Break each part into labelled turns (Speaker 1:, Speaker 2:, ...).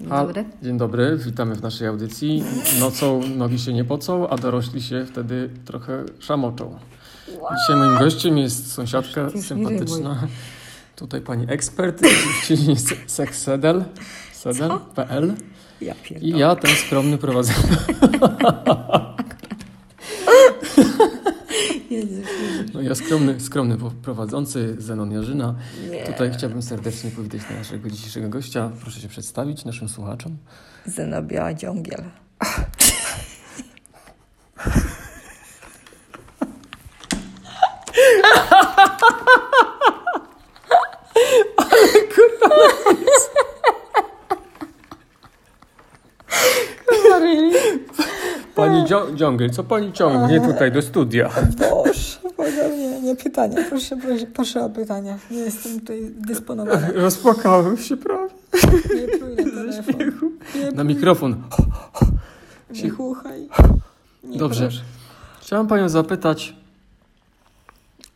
Speaker 1: Dzień
Speaker 2: A-
Speaker 1: dobry.
Speaker 2: Dzień dobry, witamy w naszej audycji. Nocą nogi się nie pocą, a dorośli się wtedy trochę szamoczą. Dzisiaj moim gościem jest sąsiadka
Speaker 1: Przecież nie
Speaker 2: sympatyczna. Tutaj pani ekspert, czyli seksedel, sedel.pl
Speaker 1: Ja
Speaker 2: i ja ten skromny prowadzę.
Speaker 1: Jezu,
Speaker 2: No ja skromny, skromny prowadzący Zenon Jarzyna.
Speaker 1: nie.
Speaker 2: Tutaj chciałbym serdecznie powitać naszego dzisiejszego gościa. Proszę się przedstawić naszym słuchaczom.
Speaker 1: Zenobia Dziągiel.
Speaker 2: Pani dzio- Dziągiel, co pani ciągnie tutaj do studia?
Speaker 3: Boże, Boże, nie, nie pytania. Proszę, proszę, proszę o pytania. Nie jestem tutaj dysponowana.
Speaker 2: Rozpłakałem się prawie.
Speaker 3: Nie pluj na telefon. Nie
Speaker 2: Na
Speaker 3: pluj,
Speaker 2: mikrofon.
Speaker 3: nie chuchaj. Nie
Speaker 2: Dobrze.
Speaker 3: proszę.
Speaker 2: Chciałem panią zapytać,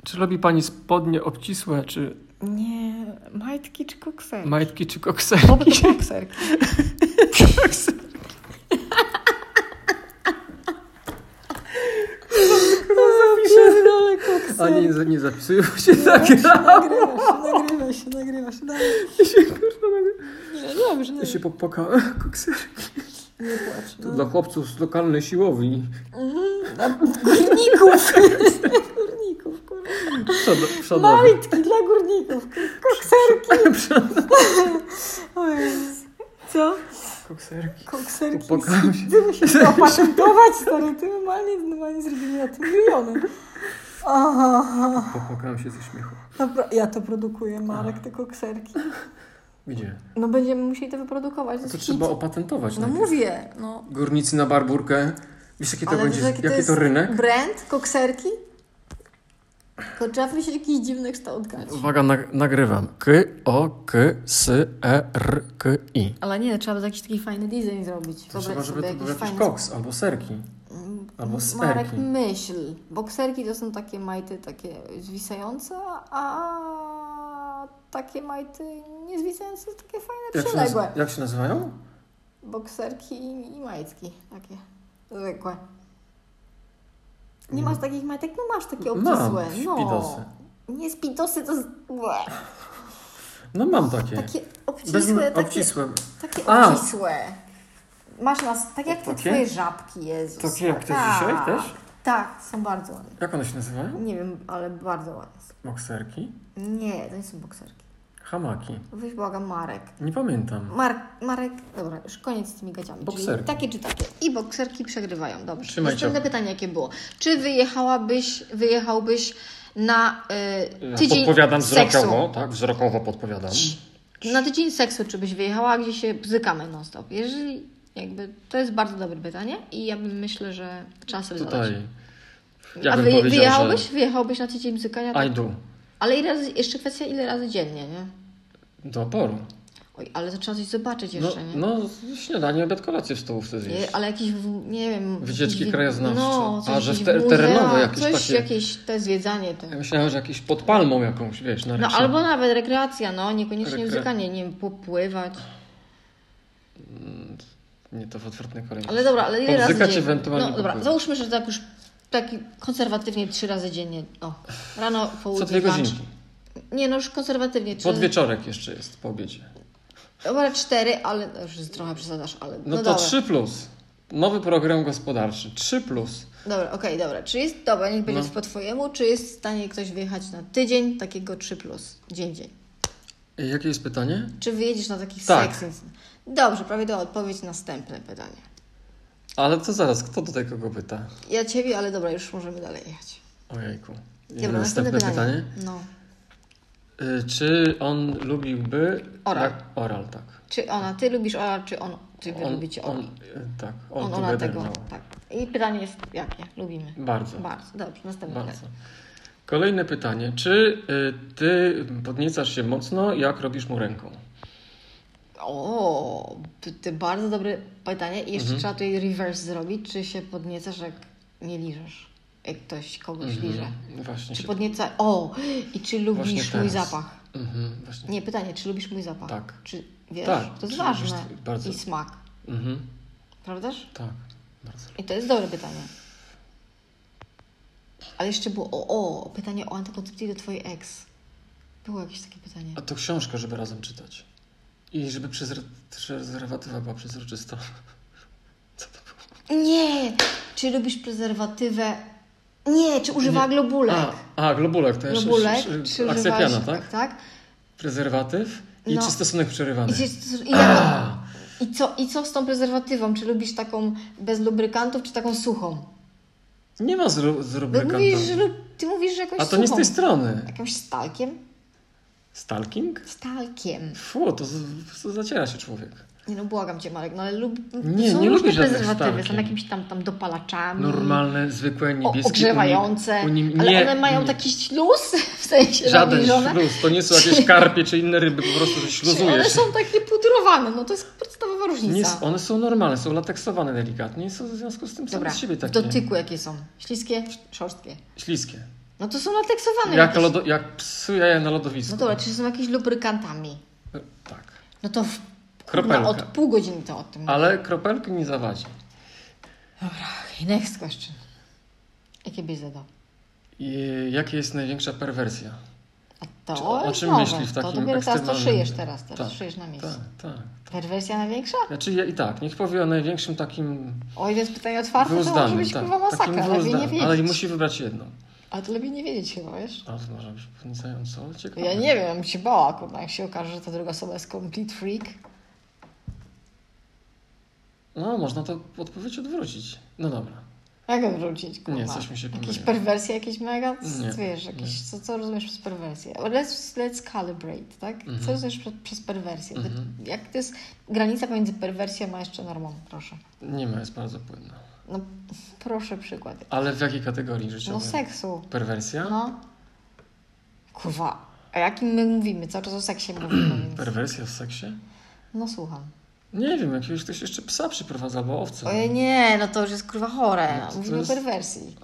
Speaker 2: czy robi pani spodnie obcisłe, czy
Speaker 1: Nie, majtki czy kokser?
Speaker 2: majtki, czy
Speaker 1: Oby
Speaker 2: kokserki?
Speaker 1: to kokser.
Speaker 3: Pierdolę koksa.
Speaker 2: A nie, nie zapisują się tak.
Speaker 3: Nagrywa się, nagrywa się, nagrywa się. Dalej. Nie, dobrze, nie,
Speaker 2: Ja się popłakałem. Kokserki.
Speaker 3: nie płacz.
Speaker 2: To
Speaker 3: No.
Speaker 2: dla chłopców z lokalnej siłowni.
Speaker 3: Mhm. Górników. górników, kurwa.
Speaker 2: Przod, przodowy.
Speaker 3: Majtki dla górników. Kokserki. O Jezus. Co?
Speaker 2: Kokserki.
Speaker 3: Kokserki.
Speaker 2: Popłakałem się.
Speaker 3: Ty musisz to opatentować, stary. Ty normalnie, normalnie zrobimy na tym miliony. Aha.
Speaker 2: Popłakałem się ze śmiechu.
Speaker 3: Dobra, ja to produkuję, Marek, te kokserki.
Speaker 2: Gdzie?
Speaker 1: No będziemy musieli to wyprodukować.
Speaker 2: To
Speaker 1: jest
Speaker 2: trzeba
Speaker 1: hit.
Speaker 2: opatentować.
Speaker 1: No
Speaker 2: najpierw.
Speaker 1: mówię, no.
Speaker 2: Górnicy na barburkę. Wiesz, jaki to
Speaker 1: Ale
Speaker 2: będzie?
Speaker 1: wiesz,
Speaker 2: Jaki, to rynek?
Speaker 1: Brand, kokserki? Tylko trzeba mieć jakiś dziwny kształt gaci.
Speaker 2: Uwaga, nag- nagrywam. K, O, K, S, E, R, K, I.
Speaker 1: Ale nie, trzeba by jakiś taki fajny design zrobić.
Speaker 2: To
Speaker 1: Wyobraź
Speaker 2: trzeba, żeby
Speaker 1: sobie
Speaker 2: to był jakiś
Speaker 1: fajny-
Speaker 2: koks albo serki. Albo
Speaker 1: Marek,
Speaker 2: sterki.
Speaker 1: myśl. Bokserki to są takie majty takie zwisające, a takie majty nie zwisające, takie fajne,
Speaker 2: Jak się, naz-
Speaker 1: przyległe.
Speaker 2: jak się nazywają?
Speaker 1: Bokserki i, i majtki takie zwykłe. Nie
Speaker 2: Nie.
Speaker 1: masz takich majtek? No masz takie
Speaker 2: Mhm. Mam,
Speaker 1: obcisłe. No.
Speaker 2: spidosy.
Speaker 1: Nie spidosy, to z... Łe.
Speaker 2: No mam takie.
Speaker 1: takie
Speaker 2: Bez
Speaker 1: obcisłe, takie,
Speaker 2: obcisłe.
Speaker 1: takie
Speaker 2: A.
Speaker 1: obcisłe. Masz nas, tak jak te
Speaker 2: Takie?
Speaker 1: twoje żabki, Jezus.
Speaker 2: Takie jak te
Speaker 1: Tak.
Speaker 2: dzisiaj też?
Speaker 1: Tak, są bardzo ładne.
Speaker 2: Jak one się nazywają?
Speaker 1: Nie wiem, ale bardzo ładne są.
Speaker 2: Bokserki?
Speaker 1: Nie, to nie są bokserki.
Speaker 2: Hamaki.
Speaker 1: Weź błagam Marek.
Speaker 2: Nie pamiętam.
Speaker 1: Mark, Marek, dobra, już koniec z tymi gaciami. Czyli
Speaker 2: Bokserki.
Speaker 1: takie czy takie. I bokserki przegrywają, dobrze.
Speaker 2: Trzymaj
Speaker 1: Następne
Speaker 2: ciapkę.
Speaker 1: pytanie jakie było. Czy wyjechałabyś, wyjechałbyś na y, tydzień
Speaker 2: Podpowiadam
Speaker 1: seksu?
Speaker 2: wzrokowo, tak? Wzrokowo podpowiadam.
Speaker 1: Na tydzień seksu, czy byś wyjechała, gdzie się bzykamy non stop? Jeżeli jakby, to jest bardzo dobre pytanie i ja bym myślę, że trzeba sobie zadać.
Speaker 2: Tutaj. Ja
Speaker 1: A
Speaker 2: bym
Speaker 1: wy,
Speaker 2: powiedział,
Speaker 1: wyjechałbyś? Wyjechałbyś na tydzień bzykania?
Speaker 2: że
Speaker 1: Tak?
Speaker 2: I do.
Speaker 1: Ale ile razy, jeszcze kwestia ile razy dziennie, nie?
Speaker 2: Do poru.
Speaker 1: Oj, ale to trzeba coś zobaczyć
Speaker 2: No,
Speaker 1: jeszcze, nie?
Speaker 2: no śniadanie, obiad, kolację w stołówce zjeść.
Speaker 1: Nie, ale jakieś, w- nie wiem...
Speaker 2: Wycieczki
Speaker 1: jakiś wi-
Speaker 2: krajoznawcze.
Speaker 1: No, coś
Speaker 2: A, że
Speaker 1: jakieś
Speaker 2: te-
Speaker 1: muzea,
Speaker 2: terenowe jakieś
Speaker 1: coś,
Speaker 2: takie.
Speaker 1: jakieś te zwiedzanie. Te.
Speaker 2: Ja myślałem, że jakiś pod palmą jakąś, wiesz, na
Speaker 1: No
Speaker 2: rysie.
Speaker 1: albo nawet rekreacja, no, niekoniecznie
Speaker 2: Rekre-
Speaker 1: bzykanie, nie wiem, popływać.
Speaker 2: Mm, Nie, to w odwrotnej kolejności.
Speaker 1: Ale dobra, ale ile razy
Speaker 2: Podbzykać
Speaker 1: dziennie?
Speaker 2: ewentualnie
Speaker 1: No dobra,
Speaker 2: popływać.
Speaker 1: załóżmy, że tak już tak konserwatywnie trzy razy dziennie. O, rano, południe,
Speaker 2: Co dwie
Speaker 1: lunch.
Speaker 2: godzinki.
Speaker 1: Nie, no już konserwatywnie. Trzy,
Speaker 2: Podwieczorek jeszcze jest po obiedzie.
Speaker 1: dobra, cztery, ale no, już trochę przesadasz, ale no,
Speaker 2: No, to
Speaker 1: dobra.
Speaker 2: 3 plus. Nowy program gospodarczy. 3 plus.
Speaker 1: Dobra, okej, dobra. Czy jest, dobra, niech będzie
Speaker 2: No.
Speaker 1: po twojemu, czy jest w stanie ktoś wyjechać na tydzień takiego 3+, plus, dzień, dzień?
Speaker 2: I jakie jest pytanie?
Speaker 1: Czy wyjedziesz na takich
Speaker 2: Tak.
Speaker 1: tak. Dobrze, prawidłowa odpowiedź, następne pytanie.
Speaker 2: Ale to zaraz, kto tutaj kogo pyta?
Speaker 1: Ja ciebie, ale dobra, już możemy dalej jechać.
Speaker 2: Ojejku. I
Speaker 1: Dobra,
Speaker 2: następne pytanie.
Speaker 1: No.
Speaker 2: Y, Czy on lubiłby...
Speaker 1: Oral.
Speaker 2: Tak, oral, tak.
Speaker 1: Czy ona, ty lubisz oral, czy on, ty wy
Speaker 2: On-
Speaker 1: lubicie oral?
Speaker 2: on- y, Tak,
Speaker 1: On,
Speaker 2: on, on
Speaker 1: ona
Speaker 2: lubi
Speaker 1: tego,
Speaker 2: tego.
Speaker 1: tak. I pytanie jest jakie? Lubimy.
Speaker 2: Bardzo,
Speaker 1: Bardzo, dobrze, następne
Speaker 2: bardzo.
Speaker 1: pytanie.
Speaker 2: Kolejne pytanie. Czy y, ty podniecasz się mocno, jak robisz mu ręką?
Speaker 1: O, ty- ty bardzo dobre pytanie. I
Speaker 2: Mhm.
Speaker 1: jeszcze trzeba tutaj reverse zrobić, czy się podniecasz, jak nie liżesz. Jak ktoś kogoś liże.
Speaker 2: Mhm, Właśnie
Speaker 1: Czy
Speaker 2: się...
Speaker 1: podnieca. O! I czy lubisz mój
Speaker 2: teraz.
Speaker 1: zapach?
Speaker 2: Mhm, właśnie.
Speaker 1: Nie, pytanie, czy lubisz mój zapach?
Speaker 2: Tak.
Speaker 1: Czy Wiesz,
Speaker 2: Tak,
Speaker 1: to jest
Speaker 2: czy-
Speaker 1: ważne.
Speaker 2: czy- bardzo.
Speaker 1: I smak,
Speaker 2: Mhm.
Speaker 1: prawdaż?
Speaker 2: Tak, bardzo.
Speaker 1: I to jest dobre pytanie. Ale jeszcze było o, o pytanie o antykoncepcji do twojej ex. Było jakieś takie pytanie.
Speaker 2: A to książkę, żeby razem czytać. I żeby przezre- prezerwatywa była przezroczysta. Co to było?
Speaker 1: Nie! Czy lubisz prezerwatywę? Nie, czy używa globulek?
Speaker 2: A, a globulek też.
Speaker 1: globulek?
Speaker 2: Sz- sz-
Speaker 1: Czy
Speaker 2: Akcja
Speaker 1: używałaś-
Speaker 2: piana, tak?
Speaker 1: tak?
Speaker 2: Prezerwatyw i
Speaker 1: No.
Speaker 2: czy stosunek przerywany.
Speaker 1: I, się- i, jak, i, co, I co z tą prezerwatywą? Czy lubisz taką bez lubrykantów, czy taką suchą?
Speaker 2: Nie ma zru- z
Speaker 1: Bo No, mówisz,
Speaker 2: rubrykantami.
Speaker 1: że lub, ty mówisz, że jakąś
Speaker 2: A to
Speaker 1: suchą.
Speaker 2: nie z tej strony.
Speaker 1: Jakąś stalkiem?
Speaker 2: Stalking?
Speaker 1: Stalkiem.
Speaker 2: Fu, to, z- to zaciera się człowiek.
Speaker 1: Nie no, błagam Cię Marek, no ale lub...
Speaker 2: Nie,
Speaker 1: są
Speaker 2: nie
Speaker 1: różne
Speaker 2: lubię żadnych
Speaker 1: prezerwatywy, są
Speaker 2: stalkiem.
Speaker 1: jakimiś tam, tam dopalaczami.
Speaker 2: Normalne, zwykłe,
Speaker 1: o-
Speaker 2: niebieskie.
Speaker 1: Ogrzewające,
Speaker 2: unim- unim-
Speaker 1: ale
Speaker 2: nie,
Speaker 1: one mają
Speaker 2: nie.
Speaker 1: taki śluz, w sensie
Speaker 2: Żaden
Speaker 1: nabliżone.
Speaker 2: śluz. To nie są jakieś karpie czy inne ryby, po prostu że
Speaker 1: Czy one
Speaker 2: śluzujesz.
Speaker 1: są takie pudrowane, no to jest podstawowa różnica.
Speaker 2: Nie, s- one są normalne, są lateksowane delikatnie i są w związku z tym same
Speaker 1: Dobra,
Speaker 2: z siebie
Speaker 1: w
Speaker 2: takie
Speaker 1: dotyku jakie są? Śliskie, szorstkie.
Speaker 2: śliskie.
Speaker 1: No to są
Speaker 2: Jak,
Speaker 1: lateksowane. jakieś.
Speaker 2: lodo, jak psu jaja na lodowisku.
Speaker 1: No dobra, czy są jakieś lubrykantami?
Speaker 2: Tak.
Speaker 1: No to w...
Speaker 2: Kropelka.
Speaker 1: kurwa, od pół godziny to o tym.
Speaker 2: Ale kropelki nie zawadzi.
Speaker 1: Okay, next question. Jakie byś zadał?
Speaker 2: I jaka jest największa perwersja?
Speaker 1: A to
Speaker 2: Czy- o
Speaker 1: jest
Speaker 2: czym
Speaker 1: nowe.
Speaker 2: myśli w
Speaker 1: To
Speaker 2: takim
Speaker 1: dopiero teraz to
Speaker 2: ekstremalnym-
Speaker 1: szyjesz teraz, teraz
Speaker 2: Tak,
Speaker 1: szyjesz na miejscu.
Speaker 2: Tak, tak.
Speaker 1: Perwersja największa?
Speaker 2: Znaczy ja i tak, niech powie o największym takim
Speaker 1: Oj, więc pytanie otwarte, to może
Speaker 2: wyuzdanym.
Speaker 1: być
Speaker 2: Tak,
Speaker 1: kurwa
Speaker 2: takim
Speaker 1: masakra. Lepiej nie
Speaker 2: wyuzdanym. Ale i
Speaker 1: wiedzieć.
Speaker 2: musi wybrać jedną.
Speaker 1: Ale to lepiej nie wiedzieć chyba, wiesz?
Speaker 2: A to może być podniecająco, ale ciekawe.
Speaker 1: Ja nie wiem, ja bym się bała, kurwa, jak się okaże, że ta druga osoba jest complete freak.
Speaker 2: No, można to odpowiedź odwrócić. No dobra.
Speaker 1: Jak odwrócić, kurwa?
Speaker 2: Nie, coś mi się
Speaker 1: Jakieś
Speaker 2: pomyliło.
Speaker 1: perwersje, jakieś mega?
Speaker 2: Nie,
Speaker 1: Nie, wiesz, jakieś, co, co rozumiesz przez perwersję? Let's, let's calibrate, tak?
Speaker 2: Mhm.
Speaker 1: Co rozumiesz przez, przez perwersję? Ty-
Speaker 2: Mhm.
Speaker 1: Jak to jest granica pomiędzy perwersją a jeszcze normą? Proszę.
Speaker 2: Nie ma, jest bardzo płynna.
Speaker 1: No, proszę przykład.
Speaker 2: Ale w jakiej kategorii
Speaker 1: No
Speaker 2: życiowej?
Speaker 1: seksu.
Speaker 2: Perwersja?
Speaker 1: No. Kurwa. A jakim my mówimy? Cały czas o seksie mówimy, więc...
Speaker 2: Perwersja w seksie?
Speaker 1: No słucham.
Speaker 2: Nie wiem, jakiegoś ktoś jeszcze psa przyprowadza albo owce.
Speaker 1: Ojej, nie, no to już jest kurwa chore.
Speaker 2: No to
Speaker 1: Mówimy
Speaker 2: jest-
Speaker 1: o perwersji.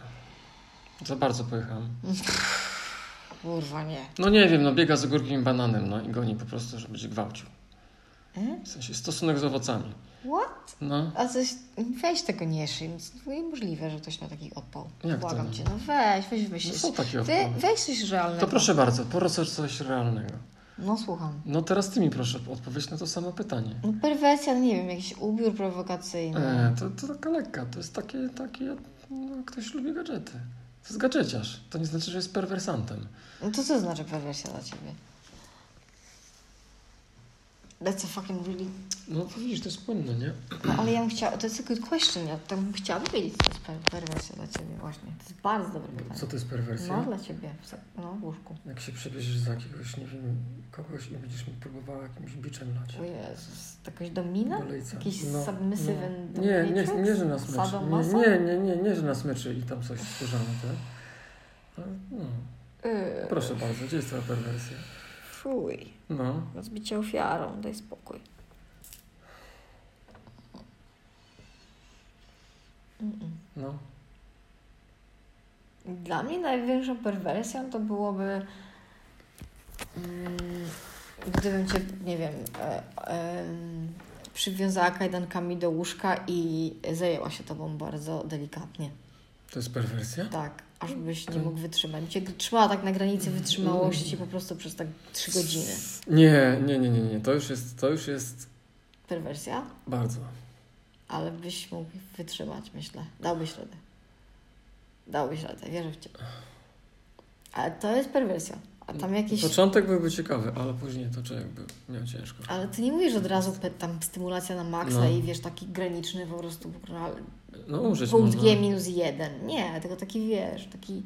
Speaker 2: Za bardzo pojechałem.
Speaker 1: Kurwa, nie.
Speaker 2: No nie wiem, no biega z ogórkiem i bananem, no i goni po prostu, żeby się gwałcił.
Speaker 1: E?
Speaker 2: W sensie stosunek z owocami.
Speaker 1: What?
Speaker 2: No,
Speaker 1: A coś, weź tego nie szyj. To niemożliwe, że ktoś ma taki odpał.
Speaker 2: Jak to
Speaker 1: Błagam
Speaker 2: nie?
Speaker 1: cię, no weź, weź
Speaker 2: no
Speaker 1: myślisz.
Speaker 2: są takie
Speaker 1: Ty,
Speaker 2: odpowiedzi.
Speaker 1: weź coś realnego.
Speaker 2: To proszę bardzo, porozsacz coś realnego.
Speaker 1: No słucham.
Speaker 2: No teraz ty mi proszę odpowiedź na to samo pytanie.
Speaker 1: No perwersja, no nie wiem, jakiś ubiór prowokacyjny.
Speaker 2: E, to, to taka lekka, to jest takie, takie no, ktoś lubi gadżety. To jest gadżeciarz, to nie znaczy, że jest perwersantem.
Speaker 1: No to co znaczy perwersja dla ciebie? That's a fucking really...
Speaker 2: No to widzisz, to jest płynne, nie?
Speaker 1: No, ale ja bym chciała... To jest a good question. Ja tam bym chciała wiedzieć, co jest per- perwersja dla ciebie właśnie. To jest bardzo dobre pytanie.
Speaker 2: Co to jest
Speaker 1: No
Speaker 2: perwersja?
Speaker 1: dla ciebie. w se- No w łóżku.
Speaker 2: Jak się przebierzesz za jakiegoś, nie wiem, kogoś i będziesz mi próbowała jakimś biczem lać.
Speaker 1: O Jezus, to jakaś domina?
Speaker 2: Dolejca.
Speaker 1: Jakiś
Speaker 2: No,
Speaker 1: submissive
Speaker 2: no. Nie, nie,
Speaker 1: dominatrix?
Speaker 2: nie, że nas myczy.
Speaker 1: Sadomaso?
Speaker 2: Nie, nie, nie, nie, nie, że nas myczy i tam coś wkurzamy, tak? Ale, No,
Speaker 1: Yy,
Speaker 2: proszę bardzo, gdzie jest twoja perwersja?
Speaker 1: Fuj,
Speaker 2: No,
Speaker 1: rozbicie ofiarą, daj spokój. Mm-mm.
Speaker 2: no.
Speaker 1: Dla mnie największą perwersją to byłoby, mm, gdybym cię, nie wiem, e, em, przywiązała kajdankami do łóżka i zajęła się tobą bardzo delikatnie.
Speaker 2: To jest perwersja?
Speaker 1: Tak, aż byś
Speaker 2: To-
Speaker 1: nie mógł wytrzymać. Cię trzymała tak na granicy
Speaker 2: Mm,
Speaker 1: wytrzymałości po prostu przez tak trzy godziny.
Speaker 2: Nie, nie, nie, nie, nie, to już jest, to już jest
Speaker 1: Perwersja,
Speaker 2: bardzo.
Speaker 1: ale byś mógł wytrzymać, myślę. Dałbyś radę. Dałbyś radę, wierzę w Ciebie. Ale to jest perwersja. A tam jakieś...
Speaker 2: Początek byłby ciekawy, ale później to człowiek by miał ciężko.
Speaker 1: Ale ty nie mówisz od razu pe- tam stymulacja na maksa
Speaker 2: No.
Speaker 1: i wiesz, taki graniczny po prostu kurwa,
Speaker 2: No umrzeć
Speaker 1: punkt
Speaker 2: można.
Speaker 1: G minus jeden. Nie, tylko taki wiesz, taki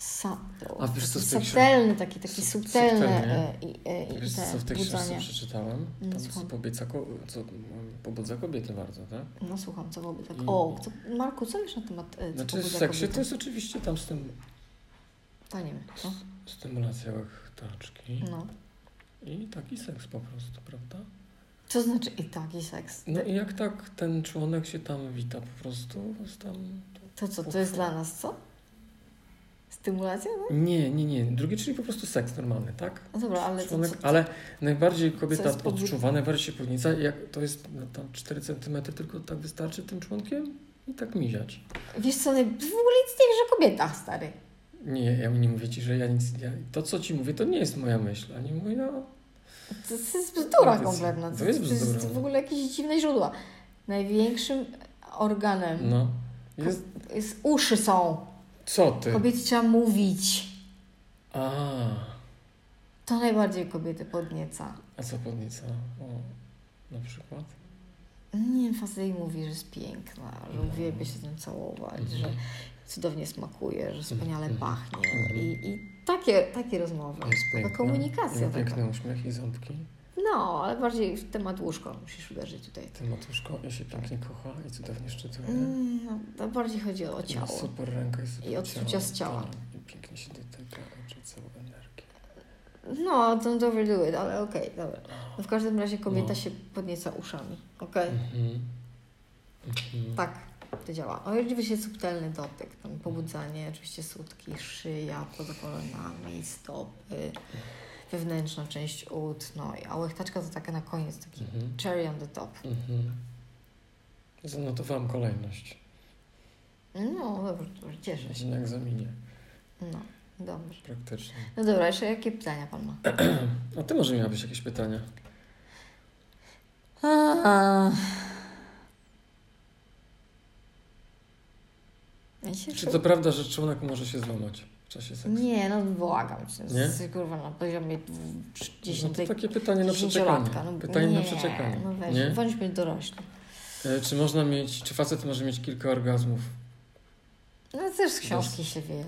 Speaker 1: sa-
Speaker 2: A wiesz, co z tej książ-
Speaker 1: subtelny, taki, taki
Speaker 2: Sub-
Speaker 1: subtelny
Speaker 2: subtelnie.
Speaker 1: e, i, e, i
Speaker 2: Wiesz,
Speaker 1: te
Speaker 2: co w tej książce
Speaker 1: budzenie.
Speaker 2: przeczytałem?
Speaker 1: No,
Speaker 2: Tam co
Speaker 1: słucham.
Speaker 2: pobieca, ko- co pobudza kobiety bardzo, tak?
Speaker 1: No słucham, co byłoby tak.
Speaker 2: Mm.
Speaker 1: O, co, Marku, co wiesz na temat e, co
Speaker 2: Znaczy w
Speaker 1: pobudza
Speaker 2: seksie
Speaker 1: kobietę?
Speaker 2: to jest oczywiście tam z tym
Speaker 1: To nie wiem, no.
Speaker 2: Stymulacja łechtaczki
Speaker 1: no.
Speaker 2: i taki seks po prostu, prawda?
Speaker 1: Co znaczy i taki seks?
Speaker 2: No i jak tak ten członek się tam wita po prostu, z tam...
Speaker 1: To co, to jest dla nas, co? Stymulacja? No,
Speaker 2: Nie, nie, nie. Drugie, czyli po prostu seks normalny, tak?
Speaker 1: no dobra, ale to,
Speaker 2: Członek,
Speaker 1: co,
Speaker 2: ale najbardziej
Speaker 1: co
Speaker 2: kobieta
Speaker 1: jest powód-
Speaker 2: odczuwa, najbardziej się pownica, jak to jest no, tam 4 cm tylko tak wystarczy tym członkiem i tak miziać.
Speaker 1: wiesz co, no, w ogóle nic nie wiesz o kobietach, stary.
Speaker 2: Nie, ja nie mówię ci, że ja nic. Ja, to, co ci mówię, to nie jest moja myśl, no, ani moja.
Speaker 1: To, to jest bzdura
Speaker 2: To jest-
Speaker 1: kompletna.
Speaker 2: to jest
Speaker 1: To
Speaker 2: bzdura.
Speaker 1: jest w ogóle jakieś dziwne źródła. Największym organem
Speaker 2: No. Jest.
Speaker 1: jest uszy są.
Speaker 2: Co ty?
Speaker 1: Kobiety trzeba mówić.
Speaker 2: A,
Speaker 1: To najbardziej kobiety podnieca.
Speaker 2: a co podnica? O, na przykład.
Speaker 1: Nie wiem, facet jej mówi, że jest piękna, że
Speaker 2: Mhm.
Speaker 1: uwielbia się z nią całować,
Speaker 2: Mhm.
Speaker 1: że cudownie smakuje, że wspaniale
Speaker 2: Mhm.
Speaker 1: pachnie
Speaker 2: Mhm.
Speaker 1: i, i takie, takie rozmowy.
Speaker 2: Jest
Speaker 1: Taka
Speaker 2: piękna.
Speaker 1: komunikacja
Speaker 2: Ma
Speaker 1: taka.
Speaker 2: Piękny uśmiech i ząbki.
Speaker 1: No, ale bardziej w temat łóżka musisz uderzyć tutaj.
Speaker 2: Ty, matuszko, ja się pięknie kocha i cudownie szczytuje.
Speaker 1: Mm, No, to bardziej chodzi o
Speaker 2: Ma
Speaker 1: ciało.
Speaker 2: Mhm. Super ręka i super
Speaker 1: I odczucia z
Speaker 2: ciało. Tak,
Speaker 1: ciała.
Speaker 2: I pięknie się dotyka, oczy całą energię.
Speaker 1: No, don't overdo it, ale okej, dobra. No, w każdym razie kobieta
Speaker 2: No.
Speaker 1: się podnieca uszami, okej?
Speaker 2: Mhm. Mhm.
Speaker 1: E- Tak, to działa. O, oczywiście subtelny dotyk, tam pobudzanie, oczywiście sutki, szyja poza kolanami, stopy, wewnętrzna część ud, no i a łechtaczka to taka na koniec, taki
Speaker 2: Mhm.
Speaker 1: cherry on the top.
Speaker 2: Mhm. Zanotowałam kolejność.
Speaker 1: No, dobrze, dobrze, cieszę się.
Speaker 2: Na egzaminie
Speaker 1: No, dobrze.
Speaker 2: praktycznie.
Speaker 1: No dobra, jeszcze jakie pytania pan ma?
Speaker 2: A ty może miałabyś jakieś pytania?
Speaker 1: A. Ja się
Speaker 2: Czy to prawda, że członek może się złamać w czasie seksu?
Speaker 1: Nie, no błagam cię.
Speaker 2: Nie?
Speaker 1: Z, kurwa, na poziomie
Speaker 2: No
Speaker 1: 10
Speaker 2: to takie pytanie na przeczekanie.
Speaker 1: dziesięciolatka. No,
Speaker 2: Pytanie
Speaker 1: nie,
Speaker 2: na przeczekanie.
Speaker 1: No weź,
Speaker 2: nie?
Speaker 1: bądźmy dorośli.
Speaker 2: E, Czy można mieć, czy facet może mieć kilka orgazmów
Speaker 1: No też z książki się wie.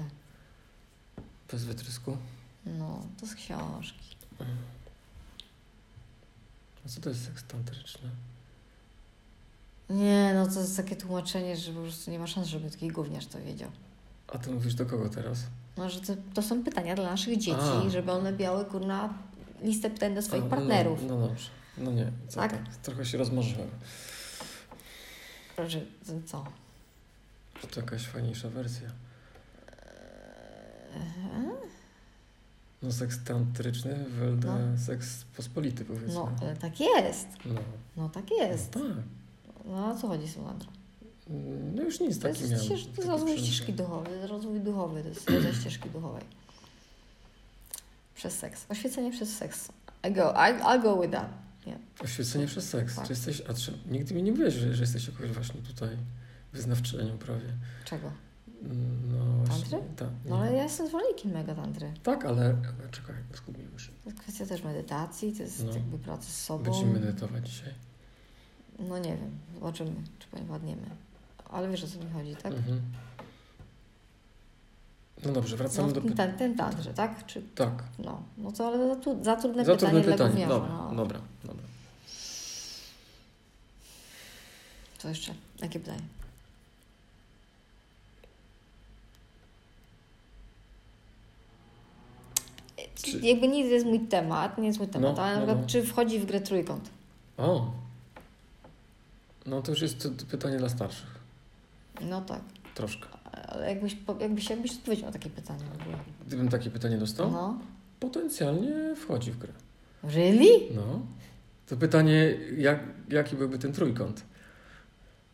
Speaker 2: bez wytrysku?
Speaker 1: No, to z książki.
Speaker 2: A co to jest seks tantryczny?
Speaker 1: Nie, no to jest takie tłumaczenie, że po prostu nie ma szans, żeby taki gówniarz to wiedział.
Speaker 2: A ty mówisz do kogo teraz?
Speaker 1: No, że to, to są pytania dla naszych dzieci,
Speaker 2: A.
Speaker 1: żeby one miały, kurna, listę pytań do swoich
Speaker 2: A,
Speaker 1: partnerów.
Speaker 2: No, no, no dobrze. No nie, co
Speaker 1: Tak?
Speaker 2: tak? Trochę się rozmarzyłem. no.
Speaker 1: Że, że co?
Speaker 2: Czy to jakaś fajniejsza wersja? No seks tantryczny, WLD,
Speaker 1: No.
Speaker 2: seks pospolity powiedzmy.
Speaker 1: No, ale tak jest.
Speaker 2: no.
Speaker 1: No, tak jest.
Speaker 2: No tak.
Speaker 1: No, a co chodzi z tą Andrą?
Speaker 2: Mm, No już nic
Speaker 1: To jest,
Speaker 2: takiego miałem.
Speaker 1: ścież, to
Speaker 2: Taki
Speaker 1: jest rozwój
Speaker 2: przemysł.
Speaker 1: ścieżki duchowej, rozwój duchowy, to jest rodzaj ścieżki duchowej. Przez seks. Oświecenie przez seks. I go, I, I'll go with that.
Speaker 2: Oświecenie przez seks.
Speaker 1: Tak.
Speaker 2: Czy jesteś, a czy, nigdy mi nie mówiłeś, że, że jesteś jakąś właśnie tutaj wyznawczynią prawie.
Speaker 1: Czego?
Speaker 2: Mm, No właśnie.
Speaker 1: Tantry?
Speaker 2: Tak,
Speaker 1: No ale
Speaker 2: nie.
Speaker 1: ja jestem zwolennikiem megatantry.
Speaker 2: Tak, ale, ale czekaj, zgubiłem już.
Speaker 1: To jest kwestia też medytacji, to jest
Speaker 2: No.
Speaker 1: jakby pracy z sobą.
Speaker 2: Będziemy medytować dzisiaj.
Speaker 1: No nie wiem, zobaczymy, czy padniemy. Ale wiesz o co mi chodzi, tak?
Speaker 2: Mhm. No dobrze, wracamy
Speaker 1: No,
Speaker 2: do
Speaker 1: ten,
Speaker 2: pytania.
Speaker 1: ten, ten tantrze, tak? Czy,
Speaker 2: Tak.
Speaker 1: no. no to ale za, tu, za trudne
Speaker 2: Za
Speaker 1: pytanie
Speaker 2: trudne
Speaker 1: dla
Speaker 2: pytanie.
Speaker 1: gówniarza.
Speaker 2: Dobra,
Speaker 1: no.
Speaker 2: dobra, dobra.
Speaker 1: Co jeszcze? Jakie pytanie?
Speaker 2: Czy-
Speaker 1: Jakby nie jest mój temat, nie jest mój temat,
Speaker 2: No,
Speaker 1: ale na
Speaker 2: no,
Speaker 1: przykład
Speaker 2: no.
Speaker 1: czy wchodzi w grę trójkąt?
Speaker 2: O! No to już jest to- to pytanie dla starszych.
Speaker 1: No tak,
Speaker 2: Troszkę.
Speaker 1: ale jakbyś, po- jakbyś, jakbyś odpowiedział na takie pytanie w ogóle.
Speaker 2: Gdybym takie pytanie dostał,
Speaker 1: No.
Speaker 2: potencjalnie wchodzi w grę.
Speaker 1: Really?
Speaker 2: No. To pytanie, jak, jaki byłby ten trójkąt?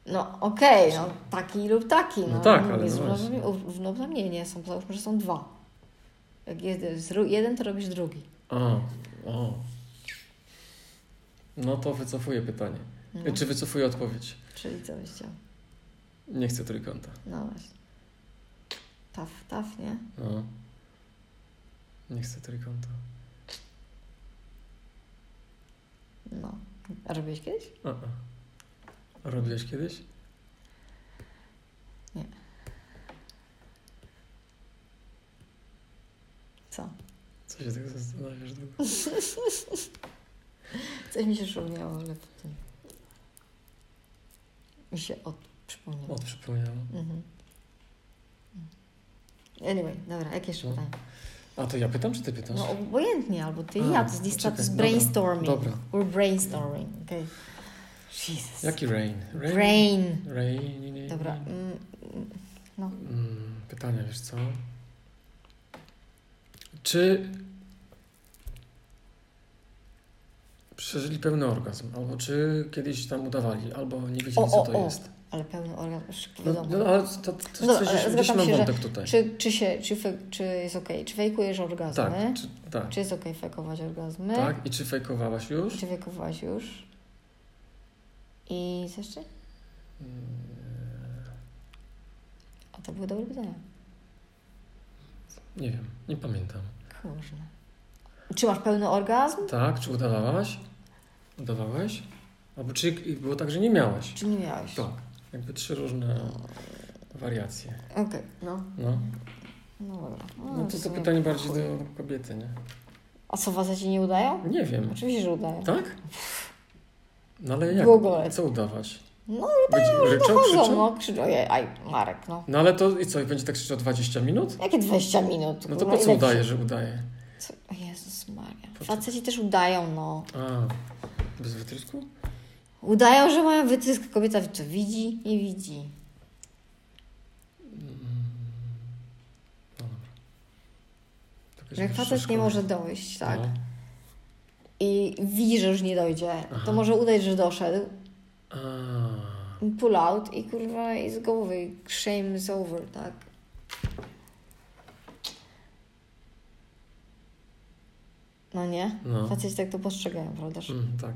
Speaker 1: No okej, no taki lub taki. No,
Speaker 2: No tak, ale
Speaker 1: jest
Speaker 2: no właśnie.
Speaker 1: równoplamienie, są, załóżmy, że są dwa. Jak jest zru- jeden, to robisz drugi.
Speaker 2: A, o. No to wycofuję pytanie.
Speaker 1: No.
Speaker 2: Czy wycofuję odpowiedź?
Speaker 1: Czyli co byś chciał?
Speaker 2: Nie chcę trójkąta.
Speaker 1: No właśnie. Taf, taf, nie?
Speaker 2: No. Nie chcę trójkąta.
Speaker 1: No. A robiłeś kiedyś?
Speaker 2: A, a. a robiłeś kiedyś?
Speaker 1: Co?
Speaker 2: Co się tak zastanawiasz długo?
Speaker 1: Coś mi się przypomniało, ale potem... Mi się od... przypomniało.
Speaker 2: O, przypomniałem.
Speaker 1: Mhm. Anyway, dobra, jakie jeszcze
Speaker 2: No.
Speaker 1: pytanie?
Speaker 2: A to ja pytam, czy ty pytasz?
Speaker 1: No obojętnie, albo ty i
Speaker 2: A,
Speaker 1: ja, to jest lista, to
Speaker 2: czekaj,
Speaker 1: jest
Speaker 2: dobra,
Speaker 1: brainstorming.
Speaker 2: dobra.
Speaker 1: We're brainstorming, okej. Jesus.
Speaker 2: Jaki rain?
Speaker 1: Brain.
Speaker 2: Rain.
Speaker 1: Dobra. Mm, mm,
Speaker 2: Mm, pytanie, wiesz co? Czy przeżyli pełny orgazm? Albo czy kiedyś tam udawali? Albo nie wiedzieli,
Speaker 1: O,
Speaker 2: co
Speaker 1: o,
Speaker 2: to
Speaker 1: o.
Speaker 2: jest?
Speaker 1: Ale pełny organ,
Speaker 2: No,
Speaker 1: wiadomo.
Speaker 2: no ale to, to, to
Speaker 1: No,
Speaker 2: coś,
Speaker 1: ale
Speaker 2: gdzieś
Speaker 1: zgadzam
Speaker 2: mam
Speaker 1: się, że-
Speaker 2: wątek tutaj.
Speaker 1: Czy, czy się, czy, fe, czy jest okej, czy fejkujesz orgazmy?
Speaker 2: tak, czy, tak,
Speaker 1: Czy jest okej fejkować orgazmy?
Speaker 2: tak. I czy fejkowałaś już?
Speaker 1: Czy fejkowałaś już? I co jeszcze?
Speaker 2: Mm.
Speaker 1: A to były dobre pytania.
Speaker 2: Nie wiem, nie pamiętam.
Speaker 1: Kurczę. Czy masz pełny orgazm?
Speaker 2: Tak, czy udawałaś? Udawałeś? Albo czy było tak, że nie miałaś?
Speaker 1: Czy nie miałeś?
Speaker 2: Tak. Jakby trzy różne wariacje.
Speaker 1: Okej, no.
Speaker 2: No,
Speaker 1: No dobra.
Speaker 2: no to
Speaker 1: w
Speaker 2: to
Speaker 1: sumie
Speaker 2: pytanie bardziej
Speaker 1: chuj.
Speaker 2: do kobiety, nie?
Speaker 1: A co, was ci nie udają?
Speaker 2: Nie wiem.
Speaker 1: Oczywiście, że udają.
Speaker 2: Tak? No ale jak?
Speaker 1: Było gole.
Speaker 2: Co udawać?
Speaker 1: No,
Speaker 2: udawałaś. Ryczał,
Speaker 1: Chodzą,
Speaker 2: krzyczał?
Speaker 1: no, krzyczą. Ojej, aj, Marek, no.
Speaker 2: No ale to i co, i będzie tak krzyczał 20 minut?
Speaker 1: Jakie 20 minut?
Speaker 2: No to
Speaker 1: kurwa,
Speaker 2: po co
Speaker 1: ile-
Speaker 2: udaje, że udaje?
Speaker 1: Co? O Jezus Maria.
Speaker 2: Po co?
Speaker 1: Faceci też udają, no.
Speaker 2: A, bez wytrysku?
Speaker 1: Udają, że mają wytrysk. Kobieta to widzi, nie widzi.
Speaker 2: Taka
Speaker 1: Że jak
Speaker 2: jest
Speaker 1: facet nie
Speaker 2: szkoła.
Speaker 1: może dojść, tak?
Speaker 2: Tak, No.
Speaker 1: I widzi, że już nie dojdzie.
Speaker 2: Aha.
Speaker 1: To może udać, że doszedł.
Speaker 2: A,
Speaker 1: Pull out i kurwa i z głowy. Shame is over, tak? No nie?
Speaker 2: no.
Speaker 1: Faceci tak to postrzegają, prawda?
Speaker 2: Mm, tak.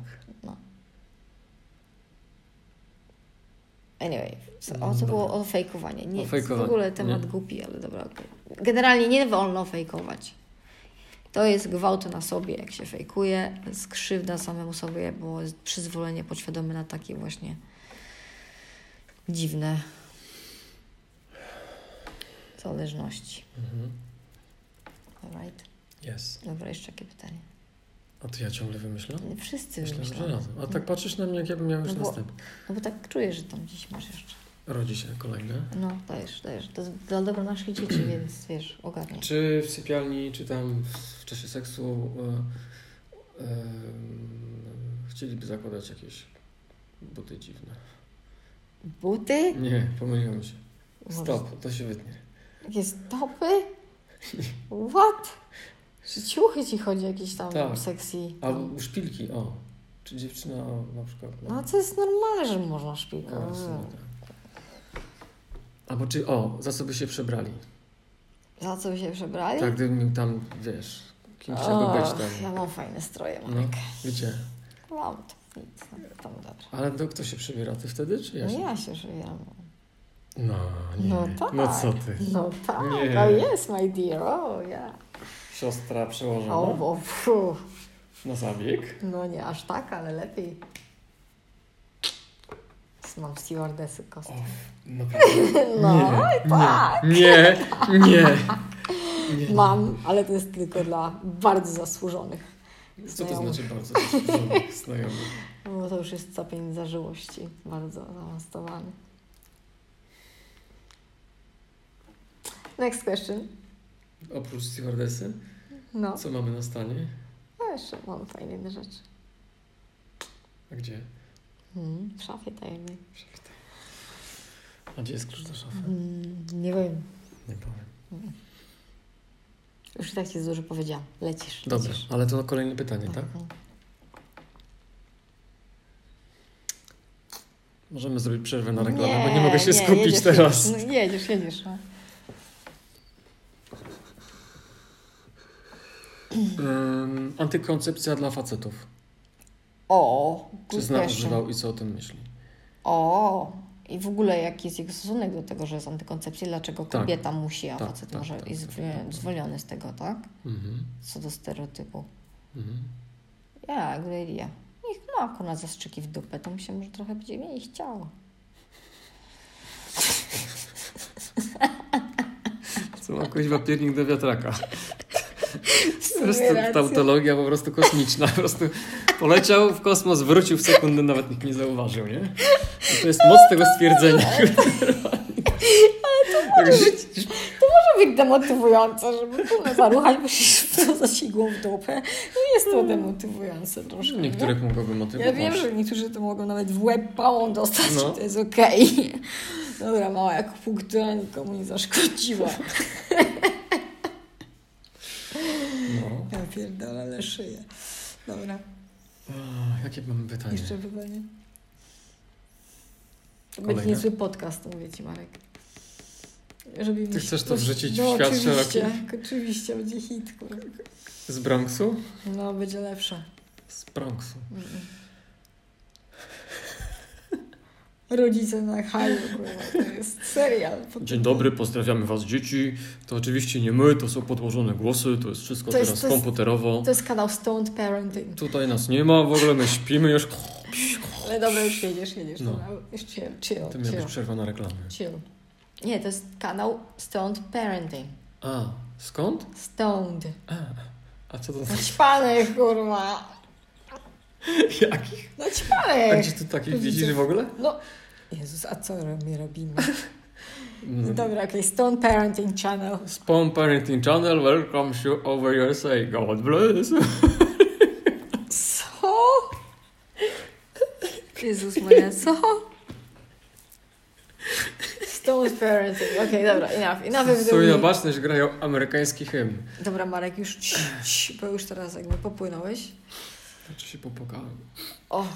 Speaker 1: Anyway, co,
Speaker 2: No
Speaker 1: o co
Speaker 2: dobra.
Speaker 1: było o fejkowanie? Nie,
Speaker 2: O fejkowaniu,
Speaker 1: w ogóle temat
Speaker 2: nie?
Speaker 1: głupi, ale dobra. okej. Generalnie nie wolno fejkować. To jest gwałt na sobie, jak się fejkuje, skrzywda samemu sobie, bo jest przyzwolenie podświadome na takie właśnie dziwne zależności.
Speaker 2: Mhm.
Speaker 1: Alright.
Speaker 2: Jest.
Speaker 1: Dobra, jeszcze jakie pytanie?
Speaker 2: A to ja ciągle wymyślam?
Speaker 1: Wszyscy
Speaker 2: Myślałem, No, że
Speaker 1: wymyślamy.
Speaker 2: razem. A tak patrzysz na mnie, jak ja bym miał już
Speaker 1: No bo-
Speaker 2: następny.
Speaker 1: No bo tak czuję, że tam gdzieś masz jeszcze.
Speaker 2: Rodzi się kolejne.
Speaker 1: No, dajesz, dajesz. To jest dla dobra naszych dzieci, więc wiesz, ogarnij.
Speaker 2: Czy w sypialni, czy tam w, w czasie seksu e, e, chcieliby zakładać jakieś buty dziwne?
Speaker 1: Buty?
Speaker 2: Nie, pomyliłem się. Stop, to się wytnie.
Speaker 1: Jakie stopy? What? Czy ciuchy ci chodzi jakieś tam
Speaker 2: Tak.
Speaker 1: sexy?
Speaker 2: Albo szpilki, o. Czy dziewczyna o, na przykład.
Speaker 1: No to jest normalne, że można szpilkę.
Speaker 2: o, w sumie tak. Albo czy, o, za co by się przebrali?
Speaker 1: Za co by się przebrali?
Speaker 2: Tak, gdybym miał tam, wiesz, kim chciałby być
Speaker 1: Och,
Speaker 2: tam.
Speaker 1: ja mam fajne stroje,
Speaker 2: No.
Speaker 1: Marek.
Speaker 2: Wiecie,
Speaker 1: Mam to nic, no, tam dobra.
Speaker 2: ale to kto się przebiera, ty wtedy, czy ja
Speaker 1: No
Speaker 2: się?
Speaker 1: ja się żywam.
Speaker 2: No, nie.
Speaker 1: No tak.
Speaker 2: No co ty?
Speaker 1: No tak,
Speaker 2: Nie.
Speaker 1: oh yes, my dear, oh yeah.
Speaker 2: Siostra przełożona
Speaker 1: O, bo, fu.
Speaker 2: na zabieg.
Speaker 1: No nie aż tak, ale lepiej. Mam stewardessy
Speaker 2: O,
Speaker 1: kostki.
Speaker 2: naprawdę.
Speaker 1: No,
Speaker 2: nie, nie, nie, nie, nie.
Speaker 1: mam, ale to jest tylko dla bardzo zasłużonych.
Speaker 2: Co to
Speaker 1: Znajomych.
Speaker 2: znaczy bardzo zasłużonych znajomych?
Speaker 1: Bo No to już jest stopień zażyłości, bardzo zaawansowany. Next question.
Speaker 2: Oprócz stewardesy,
Speaker 1: No,
Speaker 2: co mamy na stanie?
Speaker 1: no jeszcze mam fajne inne rzeczy.
Speaker 2: A gdzie?
Speaker 1: Hmm, w szafie tajemnej.
Speaker 2: A gdzie jest klucz do szafy?
Speaker 1: Mm, nie wiem,
Speaker 2: Nie powiem.
Speaker 1: już i tak ci dużo powiedziałam. Lecisz,
Speaker 2: Dobrze,
Speaker 1: lecisz.
Speaker 2: ale to kolejne pytanie, tak?
Speaker 1: Mhm.
Speaker 2: Możemy zrobić przerwę na reklamę, bo nie mogę się skupić
Speaker 1: jedziesz,
Speaker 2: teraz.
Speaker 1: Jedziesz, no, jedziesz, jedziesz. No.
Speaker 2: Ym, antykoncepcja dla facetów.
Speaker 1: O,
Speaker 2: Czy
Speaker 1: good
Speaker 2: zna
Speaker 1: question.
Speaker 2: używał i co o tym myśli?
Speaker 1: O, i w ogóle jaki jest jego stosunek do tego, że jest antykoncepcja, dlaczego
Speaker 2: Tak.
Speaker 1: kobieta musi, a
Speaker 2: Tak,
Speaker 1: facet
Speaker 2: tak,
Speaker 1: może
Speaker 2: tak,
Speaker 1: jest
Speaker 2: tak, tak, tak.
Speaker 1: zwolniony z tego, tak?
Speaker 2: Mhm.
Speaker 1: Co do stereotypu.
Speaker 2: Mhm.
Speaker 1: Ja, good idea. Niech ma akurat zastrzyki w dupę, to mi się może trochę będzie mniej chciało.
Speaker 2: Co ma kuźwa piernik do wiatraka? Po prostu
Speaker 1: Racja.
Speaker 2: tautologia po prostu kosmiczna. Po prostu poleciał w kosmos, wrócił w sekundę, nawet nikt nie zauważył, nie? I to jest moc tego stwierdzenia. Ale to
Speaker 1: To być No, demotywujące, żeby kurwa, zaruchać, bo się w to zasigło w dupę. No jest to demotywujące troszkę. nie?
Speaker 2: Niektórych mogłoby
Speaker 1: Ja
Speaker 2: motywować.
Speaker 1: wiem, że niektórzy to mogą nawet w łeb pałą dostać,
Speaker 2: No.
Speaker 1: i to jest okej. Dobra, mała jak punktura nikomu nie zaszkodziła.
Speaker 2: No.
Speaker 3: pierdolę, ale szyję. Dobra,
Speaker 2: O, jakie mam
Speaker 1: Tak,
Speaker 2: pytanie?
Speaker 3: jeszcze pytanie.
Speaker 1: To będzie
Speaker 2: Kolejne.
Speaker 1: niezły podcast, mówię Ci Marek. Żeby mi się-
Speaker 2: chcesz to wrzucić w
Speaker 1: no,
Speaker 2: świat
Speaker 1: oczywiście,
Speaker 2: szeroki?
Speaker 1: Oczywiście, będzie hit. kurwa.
Speaker 2: Z Bronxu?
Speaker 1: No, będzie lepsze.
Speaker 2: Z Bronxu.
Speaker 1: Mm.
Speaker 3: Rodzice na haju, kurwa, to jest serial. Po-
Speaker 2: Dzień dobry, pozdrawiamy Was dzieci. To oczywiście nie my, to są podłożone głosy, to jest wszystko
Speaker 1: To jest-
Speaker 2: teraz
Speaker 1: to jest-
Speaker 2: komputerowo.
Speaker 1: To jest kanał Stoned Parenting.
Speaker 2: Tutaj nas nie ma, w ogóle my śpimy już.
Speaker 1: Ale dobra, już jedziesz, jedziesz.
Speaker 2: No.
Speaker 1: No. Już chill, chill,
Speaker 2: To miała być
Speaker 1: chill,
Speaker 2: przerwa na reklamy.
Speaker 1: chill. Nie, to jest kanał Stoned Parenting.
Speaker 2: A, skąd?
Speaker 1: Stoned.
Speaker 2: A co to
Speaker 1: Naćpanych, kurwa. No,
Speaker 2: Jakich? A
Speaker 1: Naćpanych.
Speaker 2: gdzie ty takich
Speaker 3: widzę.
Speaker 2: widzisz w ogóle?
Speaker 1: No, Jezus, a co my robimy?
Speaker 2: No.
Speaker 1: Dobra, okej, Stone Parenting Channel.
Speaker 2: Spawn Parenting Channel welcomes you over USA. God bless.
Speaker 1: Co? Jezus moja, co? Stone Parenting, okej, dobra, enough, enough of the
Speaker 2: Suja
Speaker 1: week.
Speaker 2: baczność grają amerykański hymn.
Speaker 1: Dobra, Marek, już cii, cii, bo już teraz jakby popłynąłeś.
Speaker 2: Znaczy się popłakałem.
Speaker 1: O.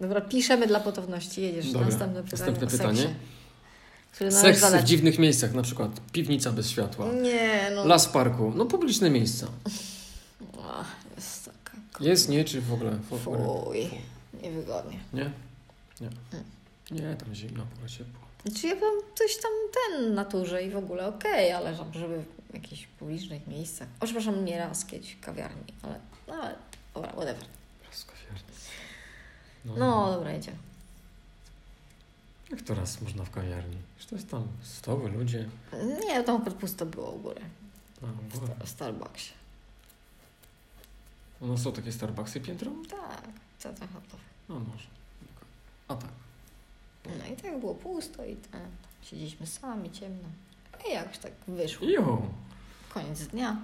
Speaker 1: Dobra, piszemy dla potowności, jedziesz.
Speaker 2: Dobra,
Speaker 1: Następne pytanie.
Speaker 2: następne
Speaker 1: o seksie,
Speaker 2: pytanie.
Speaker 1: Które należy
Speaker 2: Seks w
Speaker 1: zadać.
Speaker 2: dziwnych miejscach, na przykład piwnica bez światła.
Speaker 1: Nie, no.
Speaker 2: Las w parku, no publiczne miejsca.
Speaker 1: O, jest taka...
Speaker 2: Jest, nie, czy w ogóle? W ogóle.
Speaker 1: Fuj, niewygodnie.
Speaker 2: Nie? Nie.
Speaker 1: Hmm.
Speaker 2: Nie, tam zimno, w ogóle ciepło.
Speaker 1: Znaczy ja bym coś tam ten naturze i w ogóle okej, ale żeby- żeby w jakichś publicznych miejscach. O, przepraszam, nie raz kiedyś w kawiarni, ale no ale dobra, whatever.
Speaker 2: Raz kawiarni. No,
Speaker 1: No dobra, idzie.
Speaker 2: Jak to raz można w kawiarni? Już to jest tam stoły, ludzie.
Speaker 1: Nie, tam akurat pusto było u góry,
Speaker 2: A, w ogóle.
Speaker 1: w Starbucksie.
Speaker 2: No są takie Starbucksy piętro?
Speaker 1: Tak, co to chyba.
Speaker 2: No może. A tak.
Speaker 1: No i tak było pusto i ten. Siedzieliśmy sami, ciemno. I jakoś tak wyszło.
Speaker 2: Jo!
Speaker 1: Koniec dnia.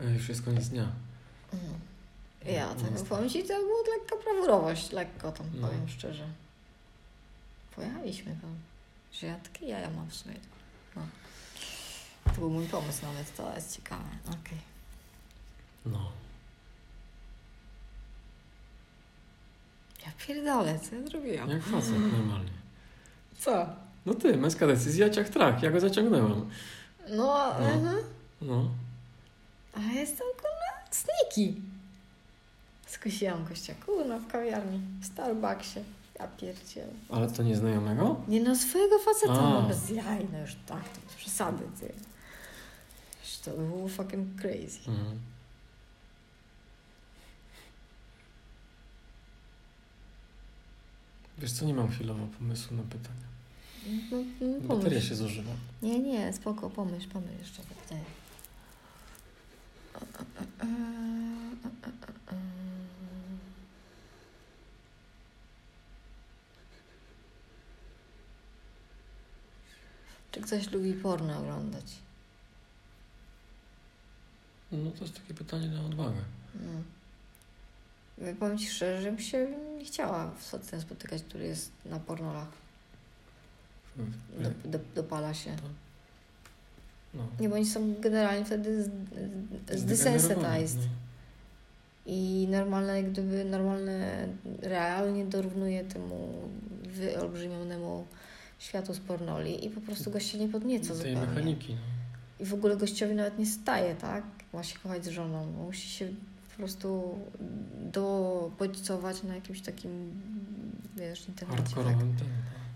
Speaker 2: Ej, Już jest koniec dnia.
Speaker 1: Mm. Ja
Speaker 2: No,
Speaker 1: tak
Speaker 2: jest-
Speaker 1: powiem Ci, to była lekka prawurowość, lekko tam,
Speaker 2: No.
Speaker 1: powiem szczerze. Pojechaliśmy tam. Że ja takie jaja mam w sumie. No. To był mój pomysł nawet, to jest ciekawe. Okej.
Speaker 2: No.
Speaker 1: Ja pierdolę, co ja zrobiłam?
Speaker 2: Jak facet normalnie.
Speaker 1: Co?
Speaker 2: No ty, męska decyzja, ciach trach, ja go zaciągnęłam.
Speaker 1: No, a-
Speaker 2: No.
Speaker 1: mhm.
Speaker 2: No.
Speaker 1: A ja jestem kurna sniki. Skusiłam gościa kurna w kawiarni, w Starbucksie. Ja pierdzielę.
Speaker 2: Ale to nieznajomego?
Speaker 1: Nie no, swojego faceta,
Speaker 2: A.
Speaker 1: no bez jaj, no już tak, to bez przesady, ty. Już to było fucking crazy.
Speaker 2: Mhm. Wiesz co, nie mam chwilowo pomysłu na pytania.
Speaker 1: No, no,
Speaker 2: Bateria
Speaker 1: pomyśl.
Speaker 2: się zużywa.
Speaker 1: Nie, nie, spoko, pomyśl, pomyśl jeszcze. tak, Ty. Czy ktoś lubi porno oglądać?
Speaker 2: No to jest takie pytanie na odwagę.
Speaker 1: No. Powiem Ci szczerze, że bym się nie chciała w ten spotykać, który jest na pornolach. Dop, dop, dopala się.
Speaker 2: No.
Speaker 1: Nie, bo oni są generalnie wtedy zdesensitized.
Speaker 2: Zdegenerowany, no.
Speaker 1: I normalne, jak gdyby normalne realnie dorównuje temu wyolbrzymionemu światu z pornoli i po prostu goście nie podnieca
Speaker 2: No. Tej
Speaker 1: zupełnie.
Speaker 2: mechaniki.
Speaker 1: I w ogóle gościowi nawet nie staje, tak? Ma się kochać z żoną, bo musi się po prostu dobodźcować na jakimś takim, wiesz,
Speaker 2: No.
Speaker 1: internecie. Tak?
Speaker 2: Hardkorowym ten. tak.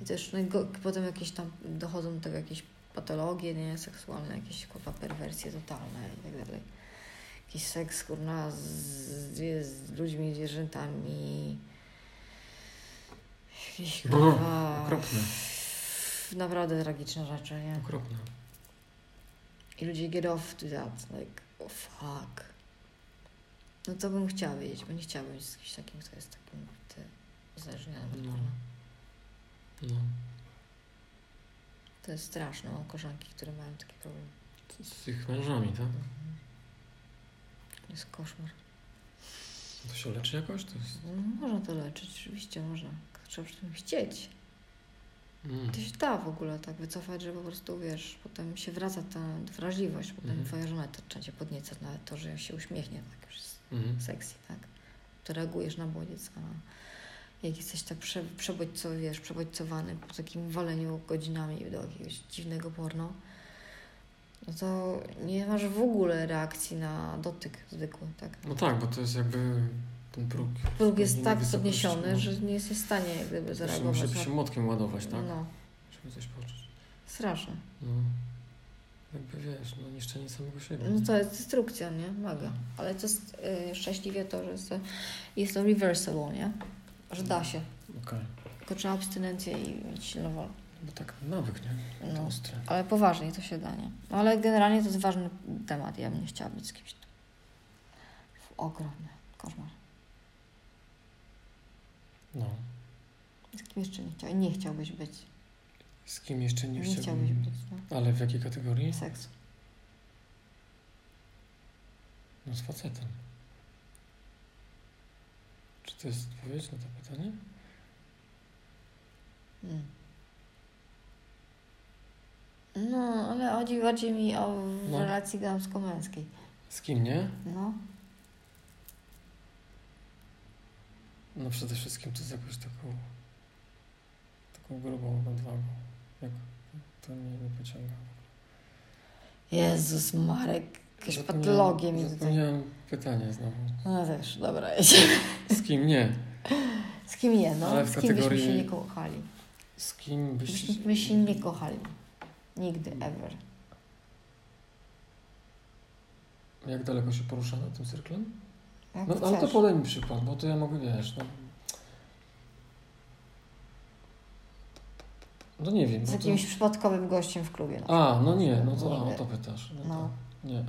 Speaker 1: I też no, i go, potem jakieś tam dochodzą do tego jakieś patologie, nie, seksualne, jakieś kurwa perwersje totalne i tak dalej. Jakiś seks, kurna, z, z, z ludźmi, zwierzętami. Jakieś
Speaker 2: Brr,
Speaker 1: kurwa...
Speaker 2: Okropne.
Speaker 1: Naprawdę tragiczne rzeczy, nie?
Speaker 2: Okropne.
Speaker 1: I ludzie get off to that, like, oh fuck. No to bym chciała wiedzieć, bo nie chciałabym być z kimś takim, kto jest takim, ty, uzależnionym od
Speaker 2: No.
Speaker 1: porna.
Speaker 2: No.
Speaker 1: To jest straszne, mam koleżanki, które mają taki problem.
Speaker 2: Z ich mężami, tak?
Speaker 1: To jest koszmar.
Speaker 2: To się leczy jakoś? To jest...
Speaker 1: No, można to leczyć, oczywiście można. Tylko Trzeba przy tym chcieć.
Speaker 2: Mm,
Speaker 1: To się da w ogóle tak wycofać, że po prostu wiesz, potem się wraca ta wrażliwość, potem
Speaker 2: Mhm.
Speaker 1: twoja żona to trzeba cię podniecać, nawet to, że się uśmiechnie, tak już jest
Speaker 2: Mhm.
Speaker 1: sexy, tak? To reagujesz na bodziec, a jak jesteś tak prze, przebodźco, wiesz, przebodźcowany po takim waleniu godzinami do jakiegoś dziwnego porno, no to nie masz w ogóle reakcji na dotyk zwykły, tak?
Speaker 2: No tak, bo to jest jakby ten próg.
Speaker 1: Próg jest
Speaker 2: innej
Speaker 1: tak
Speaker 2: wysokości,
Speaker 1: podniesiony,
Speaker 2: no.
Speaker 1: że nie jesteś w stanie jak gdyby
Speaker 2: Muszę,
Speaker 1: zareagować.
Speaker 2: muszę się młotkiem ładować, tak?
Speaker 1: No,
Speaker 2: Żeby coś poczuć.
Speaker 1: straszne.
Speaker 2: No. Jakby wiesz, no niszczenie samego siebie.
Speaker 1: No to jest destrukcja, nie? Mega. Ale to jest y, szczęśliwie to, że jest to, jest to reversible, nie? Że
Speaker 2: No.
Speaker 1: da się.
Speaker 2: Okej.
Speaker 1: Tylko trzeba abstynencję i mieć silną wolę.
Speaker 2: Bo tak nawyk, nie?
Speaker 1: No.
Speaker 2: No. Ostry.
Speaker 1: Ale poważnie to się da, nie? No ale generalnie to jest ważny temat. Ja bym nie chciała być z kimś. tu. W ogromny koszmar.
Speaker 2: No.
Speaker 1: Z kim jeszcze nie chciał? Nie chciałbyś być.
Speaker 2: Z kim jeszcze nie,
Speaker 1: Nie,
Speaker 2: chciałbym...
Speaker 1: chciałbyś być, no.
Speaker 2: Ale w jakiej kategorii?
Speaker 1: Seks.
Speaker 2: No z facetem. Czy to jest odpowiedź na to pytanie?
Speaker 1: Mm. No, ale chodzi bardziej mi o w
Speaker 2: No.
Speaker 1: relacji damsko-męskiej.
Speaker 2: Z kim, nie?
Speaker 1: No.
Speaker 2: No przede wszystkim to z jakąś taką... taką grubą nadwagą. Jak to mnie nie pociąga.
Speaker 1: Jezus, Marek, jakieś
Speaker 2: Zapomniałem-
Speaker 1: patologie mi tutaj.
Speaker 2: Zapomniałem pytanie znowu.
Speaker 1: No wiesz, dobra.
Speaker 2: Z kim nie?
Speaker 1: Z kim nie, no?
Speaker 2: Ale w
Speaker 1: Z kim byśmy się
Speaker 2: kategorii-
Speaker 1: nie kochali?
Speaker 2: Z kim byś...
Speaker 1: Byśmy się nie kochali. Nigdy, ever.
Speaker 2: Jak daleko się porusza na tym cyrklem?
Speaker 1: Jak
Speaker 2: No, ale to
Speaker 1: chcesz.
Speaker 2: podaj mi przykład, bo to ja mogę, wiesz, no... No nie wiem.
Speaker 1: Z
Speaker 2: no to-
Speaker 1: jakimś przypadkowym gościem w klubie. No.
Speaker 2: A, no nie, no to a,
Speaker 1: Nigdy.
Speaker 2: o to pytasz. No.
Speaker 1: No.
Speaker 2: To, nie.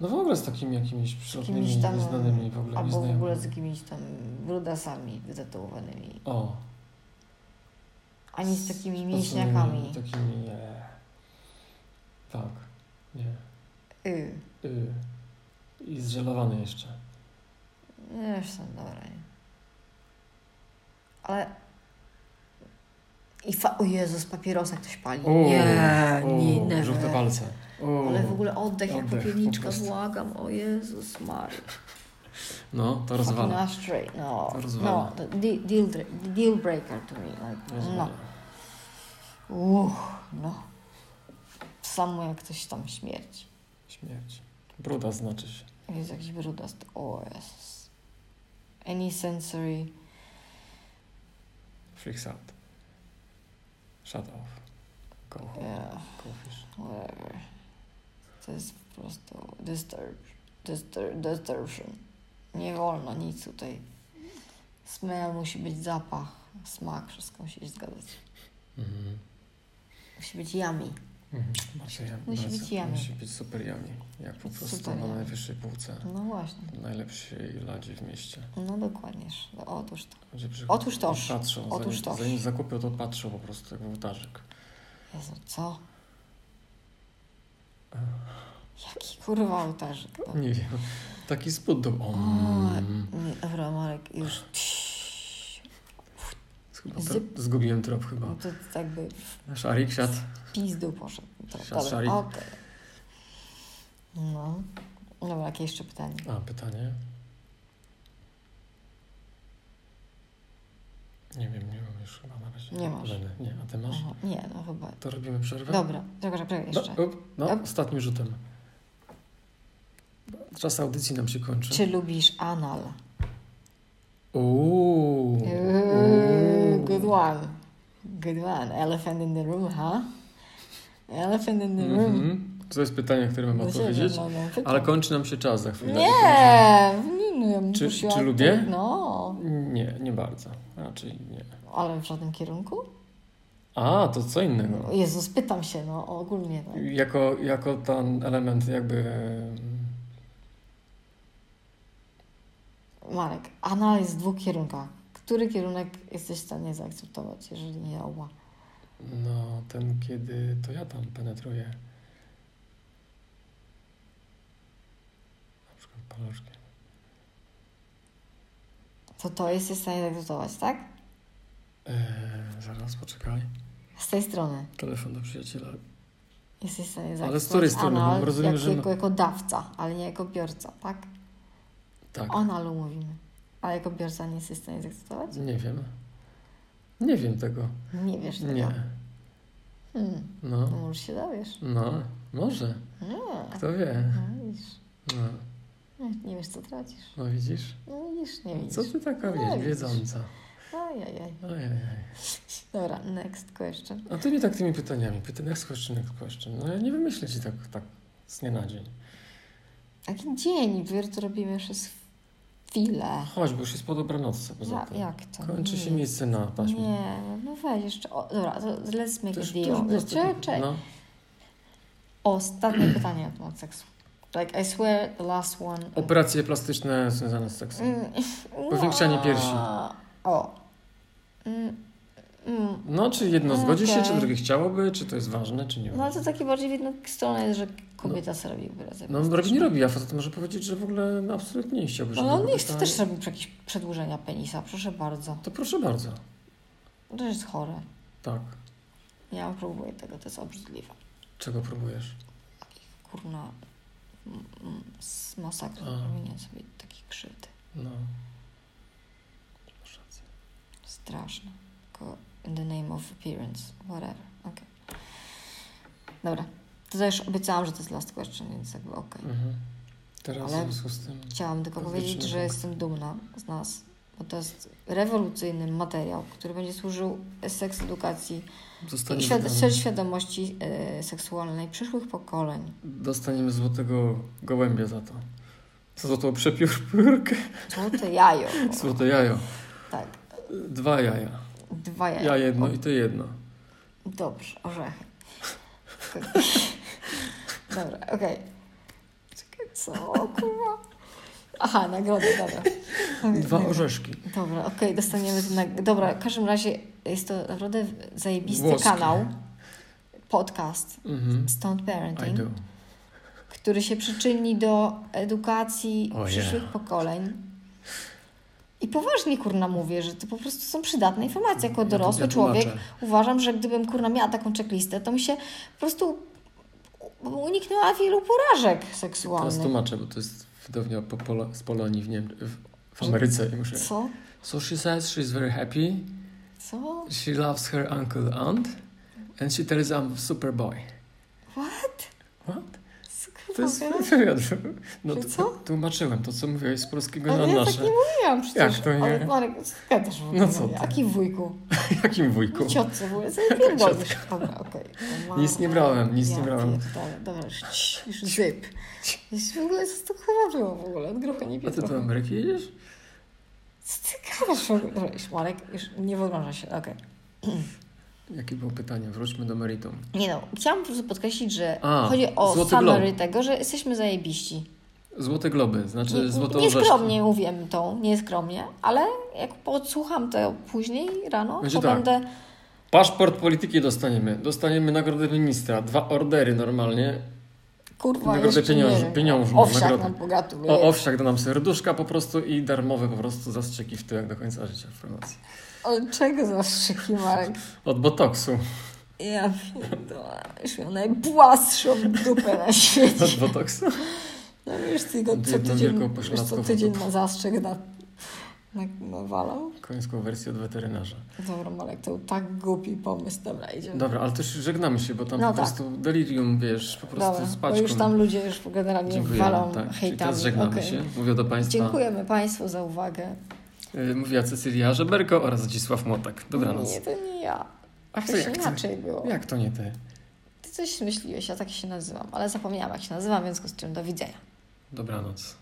Speaker 2: No w ogóle z takimi jakimiś przyrodnymi,
Speaker 1: tam-
Speaker 2: nieznanymi w ogóle,
Speaker 1: Albo w
Speaker 2: nieznajomymi.
Speaker 1: ogóle z jakimiś tam brudasami wytatuowanymi.
Speaker 2: O.
Speaker 1: Ani z takimi
Speaker 2: tacymi-
Speaker 1: mięśniakami.
Speaker 2: Takimi, nie. Tak. Nie.
Speaker 1: Y.
Speaker 2: Y. I zżelowany jeszcze.
Speaker 1: No już są dobra. nie? Ale... I fa... O Jezus, papierosa ktoś pali.
Speaker 2: O,
Speaker 1: nie,
Speaker 2: o,
Speaker 1: nie, never.
Speaker 2: Żółte palce. O.
Speaker 1: Ale w ogóle oddech jak
Speaker 2: Oddech, po
Speaker 1: popielniczka,
Speaker 2: prostu.
Speaker 1: błagam, o Jezus Mary.
Speaker 2: No, to rozwala.
Speaker 1: Ashtray, no.
Speaker 2: To rozwala.
Speaker 1: No, to de- deal, dre- deal breaker to me. Like,
Speaker 2: Rozwala.
Speaker 1: no. Uch, no. Samo jak coś tam śmierci.
Speaker 2: Śmierć. Bruda znaczy się.
Speaker 1: Jest jakiś brudast. O Jezus. Any sensory.
Speaker 2: Freaks out. Shut off. Go home.
Speaker 1: Yeah,
Speaker 2: Go fish.
Speaker 1: whatever. To jest po prostu disturb, disturb, distortion. Nie wolno nic tutaj. Smell musi być zapach, smak, wszystko musi się zgadzać.
Speaker 2: Mhm.
Speaker 1: Musi być yummy.
Speaker 2: Mhm. Bardzo ja-
Speaker 1: Musi
Speaker 2: bardzo-
Speaker 1: być jamy.
Speaker 2: Musi być super jami. Jak po prostu
Speaker 1: Super
Speaker 2: na
Speaker 1: jamy.
Speaker 2: najwyższej półce.
Speaker 1: No właśnie.
Speaker 2: Najlepszej ladzie w mieście.
Speaker 1: No dokładnież. No, otóż to.
Speaker 2: Ludzie przychodzą
Speaker 1: Otóż toż.
Speaker 2: i Patrzą,
Speaker 1: Otóż
Speaker 2: zanim,
Speaker 1: toż.
Speaker 2: zanim zakupią, to patrzą po prostu jak w ołtarzyk.
Speaker 1: Jezu, co? Jaki kurwa ołtarzyk to?
Speaker 2: Nie wiem. Taki Mm. spód do... Om.
Speaker 1: Nie, Dobra, Marek, już. Psz,
Speaker 2: Chyba tro-
Speaker 1: Zyp.
Speaker 2: Zgubiłem trop
Speaker 1: No
Speaker 2: chyba.
Speaker 1: to jakby
Speaker 2: Szarik siadł.
Speaker 1: w pizdu poszedł. To,
Speaker 2: Siad,
Speaker 1: dobra,
Speaker 2: szali.
Speaker 1: okej. No. Dobra, jakie jeszcze pytanie?
Speaker 2: A, pytanie. Nie wiem, nie mam już chyba na razie.
Speaker 1: Nie masz.
Speaker 2: Żadne. Nie, a ty masz?
Speaker 1: Aha, nie, no chyba.
Speaker 2: To robimy przerwę?
Speaker 1: Dobra, czekaj, czekaj,
Speaker 2: No,
Speaker 1: jeszcze.
Speaker 2: up, no
Speaker 1: Up.
Speaker 2: ostatnim rzutem. Czas audycji nam się kończy.
Speaker 1: Czy lubisz anal?
Speaker 2: Uuu.
Speaker 1: Eee, Ooh, good one. Good one. Elephant in the room, huh? Elephant in the room.
Speaker 2: Mhm. To jest pytanie, które mam
Speaker 1: No się
Speaker 2: odpowiedzieć.
Speaker 1: wiem, no, no, pytam.
Speaker 2: Ale kończy nam się czas za chwilę.
Speaker 1: Nie, nie, nie.
Speaker 2: Czy-
Speaker 1: prosiłam-
Speaker 2: czy lubię?
Speaker 1: No,
Speaker 2: Nie, nie bardzo. Raczej nie.
Speaker 1: ale w żadnym kierunku?
Speaker 2: A, to co innego.
Speaker 1: Jezus, pytam się, no ogólnie. No.
Speaker 2: Jako, jako ten element jakby... em,
Speaker 1: Marek, analiz w dwóch kierunkach. Który kierunek jesteś w stanie zaakceptować, jeżeli nie oba?
Speaker 2: No, ten kiedy to ja tam penetruję. Na przykład paluszkiem.
Speaker 1: To to jesteś w stanie zaakceptować, tak?
Speaker 2: Eee, zaraz. Teraz poczekaj.
Speaker 1: Z tej strony.
Speaker 2: Telefon do przyjaciela.
Speaker 1: Jesteś w stanie
Speaker 2: Ale z której strony? Bo
Speaker 1: Anal
Speaker 2: rozumiem,
Speaker 1: jak,
Speaker 2: że no-
Speaker 1: jako, jako dawca, ale nie jako biorca, tak?
Speaker 2: Tak.
Speaker 1: Onalu mówimy. Ale jako biorca nie jesteś w stanie zaakceptować?
Speaker 2: Nie wiem. Nie wiem tego.
Speaker 1: Nie wiesz tego.
Speaker 2: Nie.
Speaker 1: Hmm. No
Speaker 2: No.
Speaker 1: może się dowiesz.
Speaker 2: No. Może.
Speaker 1: Nie.
Speaker 2: Kto wie.
Speaker 1: No widzisz.
Speaker 2: No.
Speaker 1: Nie, Nie wiesz, co tracisz.
Speaker 2: No widzisz?
Speaker 1: No widzisz, nie widzisz.
Speaker 2: Co ty taka
Speaker 1: No,
Speaker 2: wiesz,
Speaker 1: widzisz.
Speaker 2: wiedząca?
Speaker 1: Ajajaj.
Speaker 2: Ojej.
Speaker 1: Dobra, next question.
Speaker 2: A ty mi tak tymi pytaniami. Pytania z koszczynek z koszczyn. No ja nie wymyślę ci tak, tak z dnia na dzień.
Speaker 1: Jaki dzień? Wiesz, to robimy przez chwilę.
Speaker 2: No Chodź, bo już jest po dobranocce poza
Speaker 1: Ja,
Speaker 2: tym.
Speaker 1: jak to?
Speaker 2: Kończy się
Speaker 1: Nie.
Speaker 2: miejsce na taśmie.
Speaker 1: Nie, no weź jeszcze. O, dobra, to let's make
Speaker 2: To już-
Speaker 1: a
Speaker 2: to już
Speaker 1: deal.
Speaker 2: było
Speaker 1: Czekaj,
Speaker 2: ostatnie.
Speaker 1: czekaj.
Speaker 2: No.
Speaker 1: Ostatnie pytanie na temat seksu. Like, I swear, the last one.
Speaker 2: Operacje plastyczne związane z seksem.
Speaker 1: Mm,
Speaker 2: Powiększanie piersi.
Speaker 1: O. Mm, mm.
Speaker 2: No, czy jedno zgodzi się, czy
Speaker 1: Okej.
Speaker 2: drugie chciałoby, czy to jest ważne, czy nie
Speaker 1: No ale
Speaker 2: ważne.
Speaker 1: to takie bardziej w jedną stronę jest, że kobieta sobie robi wyrazy.
Speaker 2: No, robi, nie robi, a facet może powiedzieć, że w ogóle no, absolutnie nie chciałby, żeby
Speaker 1: No on
Speaker 2: kobieta-
Speaker 1: nie chce też robić jakieś przedłużenia penisa, proszę bardzo.
Speaker 2: To proszę bardzo.
Speaker 1: To też jest chore.
Speaker 2: Tak.
Speaker 1: Ja próbuję tego, to jest obrzydliwe.
Speaker 2: Czego próbujesz?
Speaker 1: Kurna, m- m- s- masakra,
Speaker 2: A.
Speaker 1: robienie sobie takiej krzywdy.
Speaker 2: No. Masz rację.
Speaker 1: Straszne. Tylko in the name of appearance, whatever. Okay. Dobra, to też obiecałam, że to jest last question, więc jakby okej.
Speaker 2: Mhm. Teraz
Speaker 1: Ale-
Speaker 2: w związku z tym...
Speaker 1: Chciałam tylko
Speaker 2: Bezpieczny
Speaker 1: powiedzieć, że
Speaker 2: punkt.
Speaker 1: jestem dumna z nas, bo to jest rewolucyjny materiał, który będzie służył seks edukacji i
Speaker 2: Zostaniemy,
Speaker 1: świad-
Speaker 2: tam-
Speaker 1: szerz- świadomości e, seksualnej przyszłych pokoleń.
Speaker 2: dostaniemy złotego gołębia za to. Za złotą przepiórkę.
Speaker 1: Złote jajo.
Speaker 2: Złote jajo.
Speaker 1: Tak,
Speaker 2: Dwa jaja.
Speaker 1: dwa jaja.
Speaker 2: Ja jedno i ty jedno.
Speaker 1: Dobrze, orzechy. Dobra, okej. Czekaj, co? O kurwa. Aha, nagrody, dobra. Tak.
Speaker 2: Dwa orzeszki.
Speaker 1: Dobra, okej, dostaniemy... Na... Dobra, w każdym razie jest to naprawdę zajebisty
Speaker 2: Włoski.
Speaker 1: kanał. Podcast
Speaker 2: Mhm.
Speaker 1: Stąd
Speaker 2: I
Speaker 1: Parenting,
Speaker 2: do.
Speaker 1: który się przyczyni do edukacji
Speaker 2: O
Speaker 1: przyszłych
Speaker 2: yeah.
Speaker 1: pokoleń. I poważnie, kurna, mówię, że to po prostu są przydatne informacje. Jako
Speaker 2: Ja tu-
Speaker 1: dorosły
Speaker 2: ja
Speaker 1: człowiek
Speaker 2: tłumaczę.
Speaker 1: uważam, że gdybym, kurna, miała taką checklistę, to mi się po prostu u- uniknęła wielu porażek
Speaker 2: Teraz
Speaker 1: seksualnych.
Speaker 2: tłumaczę, bo to jest widownia po Pola, z Polonii w, Niem- w, w Ameryce i muszę...
Speaker 1: Co?
Speaker 2: So she says she's very happy,
Speaker 1: Co?
Speaker 2: she loves her uncle aunt and she tells I'm super boy.
Speaker 1: What?
Speaker 2: What?
Speaker 1: Co,
Speaker 2: To jest
Speaker 1: kurwa,
Speaker 2: wywiad. No,
Speaker 1: Że
Speaker 2: to-
Speaker 1: co?
Speaker 2: Tłumaczyłeś to, co mówiłeś z polskiego
Speaker 1: Ale
Speaker 2: na
Speaker 1: ja tak
Speaker 2: nasze.
Speaker 1: nie mówiłam przecież.
Speaker 2: Jak to nie?
Speaker 1: Ale Marek, zgadzasz w ogóle.
Speaker 2: No co
Speaker 1: mówię.
Speaker 2: ty?
Speaker 1: Jaki wujku?
Speaker 2: Jakim wujku?
Speaker 1: Ciotce w ogóle, sobie pierdolisz. Dobra, okej. No,
Speaker 2: Nic nie brałem, nic nie
Speaker 1: ja
Speaker 2: brałem.
Speaker 1: pierdolę. Dobra, już, cii, już zyp. Już w ogóle, co to chyba było w ogóle? Od gruchy nie
Speaker 2: A ty do
Speaker 1: pierdolę.
Speaker 2: Ameryki jedziesz?
Speaker 1: Co ty gadasz w ogóle? Dobra, już Marek, już nie wyobraża się, okej.
Speaker 2: Jakie było pytanie? Wróćmy do meritum.
Speaker 1: Nie no, chciałam po prostu podkreślić, że
Speaker 2: A,
Speaker 1: chodzi o
Speaker 2: Złoty
Speaker 1: summary
Speaker 2: Glob.
Speaker 1: tego, że jesteśmy zajebiści.
Speaker 2: Złote globy, znaczy
Speaker 1: Nie,
Speaker 2: złote orzeszki.
Speaker 1: nieskromnie mówię tą, nieskromnie, ale jak podsłucham to później rano,
Speaker 2: Będzie
Speaker 1: to
Speaker 2: tak.
Speaker 1: będę...
Speaker 2: Paszport polityki dostaniemy. Dostaniemy nagrodę ministra. Dwa ordery normalnie.
Speaker 1: Kurwa,
Speaker 2: Nagrodę
Speaker 1: jeszcze nie no,
Speaker 2: pieniąż-
Speaker 1: wiem.
Speaker 2: pieniężną,
Speaker 1: Owsiak
Speaker 2: nagrodę.
Speaker 1: nam pogratuluje.
Speaker 2: O, owsiak da nam serduszka po prostu i darmowe po prostu zastrzyki w tyłek do końca życia w promocji.
Speaker 1: Ale czego zastrzyki, Marek?
Speaker 2: Od botoksu.
Speaker 1: Ja pierdolę, już miał najbłastszą dupę na świecie.
Speaker 2: Od botoksu.
Speaker 1: No wiesz, ty go co
Speaker 2: Jedną
Speaker 1: tydzień,
Speaker 2: wielką
Speaker 1: wiesz, co
Speaker 2: pośladkową
Speaker 1: tydzień
Speaker 2: dupę.
Speaker 1: na zastrzyk na, na, nawalał.
Speaker 2: Końską wersję od weterynarza.
Speaker 1: Dobra, Marek, to był tak głupi pomysł. Dobra, idziemy.
Speaker 2: Dobra, ale też żegnamy się, bo tam
Speaker 1: No
Speaker 2: po
Speaker 1: tak.
Speaker 2: prostu delirium, wiesz, po prostu
Speaker 1: Dobra,
Speaker 2: z
Speaker 1: bo
Speaker 2: paczką.
Speaker 1: już tam ludzie już generalnie
Speaker 2: Dziękuję.
Speaker 1: walą
Speaker 2: tak. Czyli
Speaker 1: hejtami.
Speaker 2: teraz żegnamy
Speaker 1: Okej.
Speaker 2: się. Mówię do Państwa.
Speaker 1: Dziękujemy Państwu za uwagę.
Speaker 2: Y, Mówiła Cecylia Żeberko oraz Zdzisław Motek. Dobranoc.
Speaker 1: Nie, to nie ja.
Speaker 2: A
Speaker 1: To się inaczej było.
Speaker 2: Jak to nie ty?
Speaker 1: Ty coś myśliłeś, ja tak się nazywam, ale zapomniałam jak się nazywam, w związku z czym do widzenia.
Speaker 2: Dobranoc.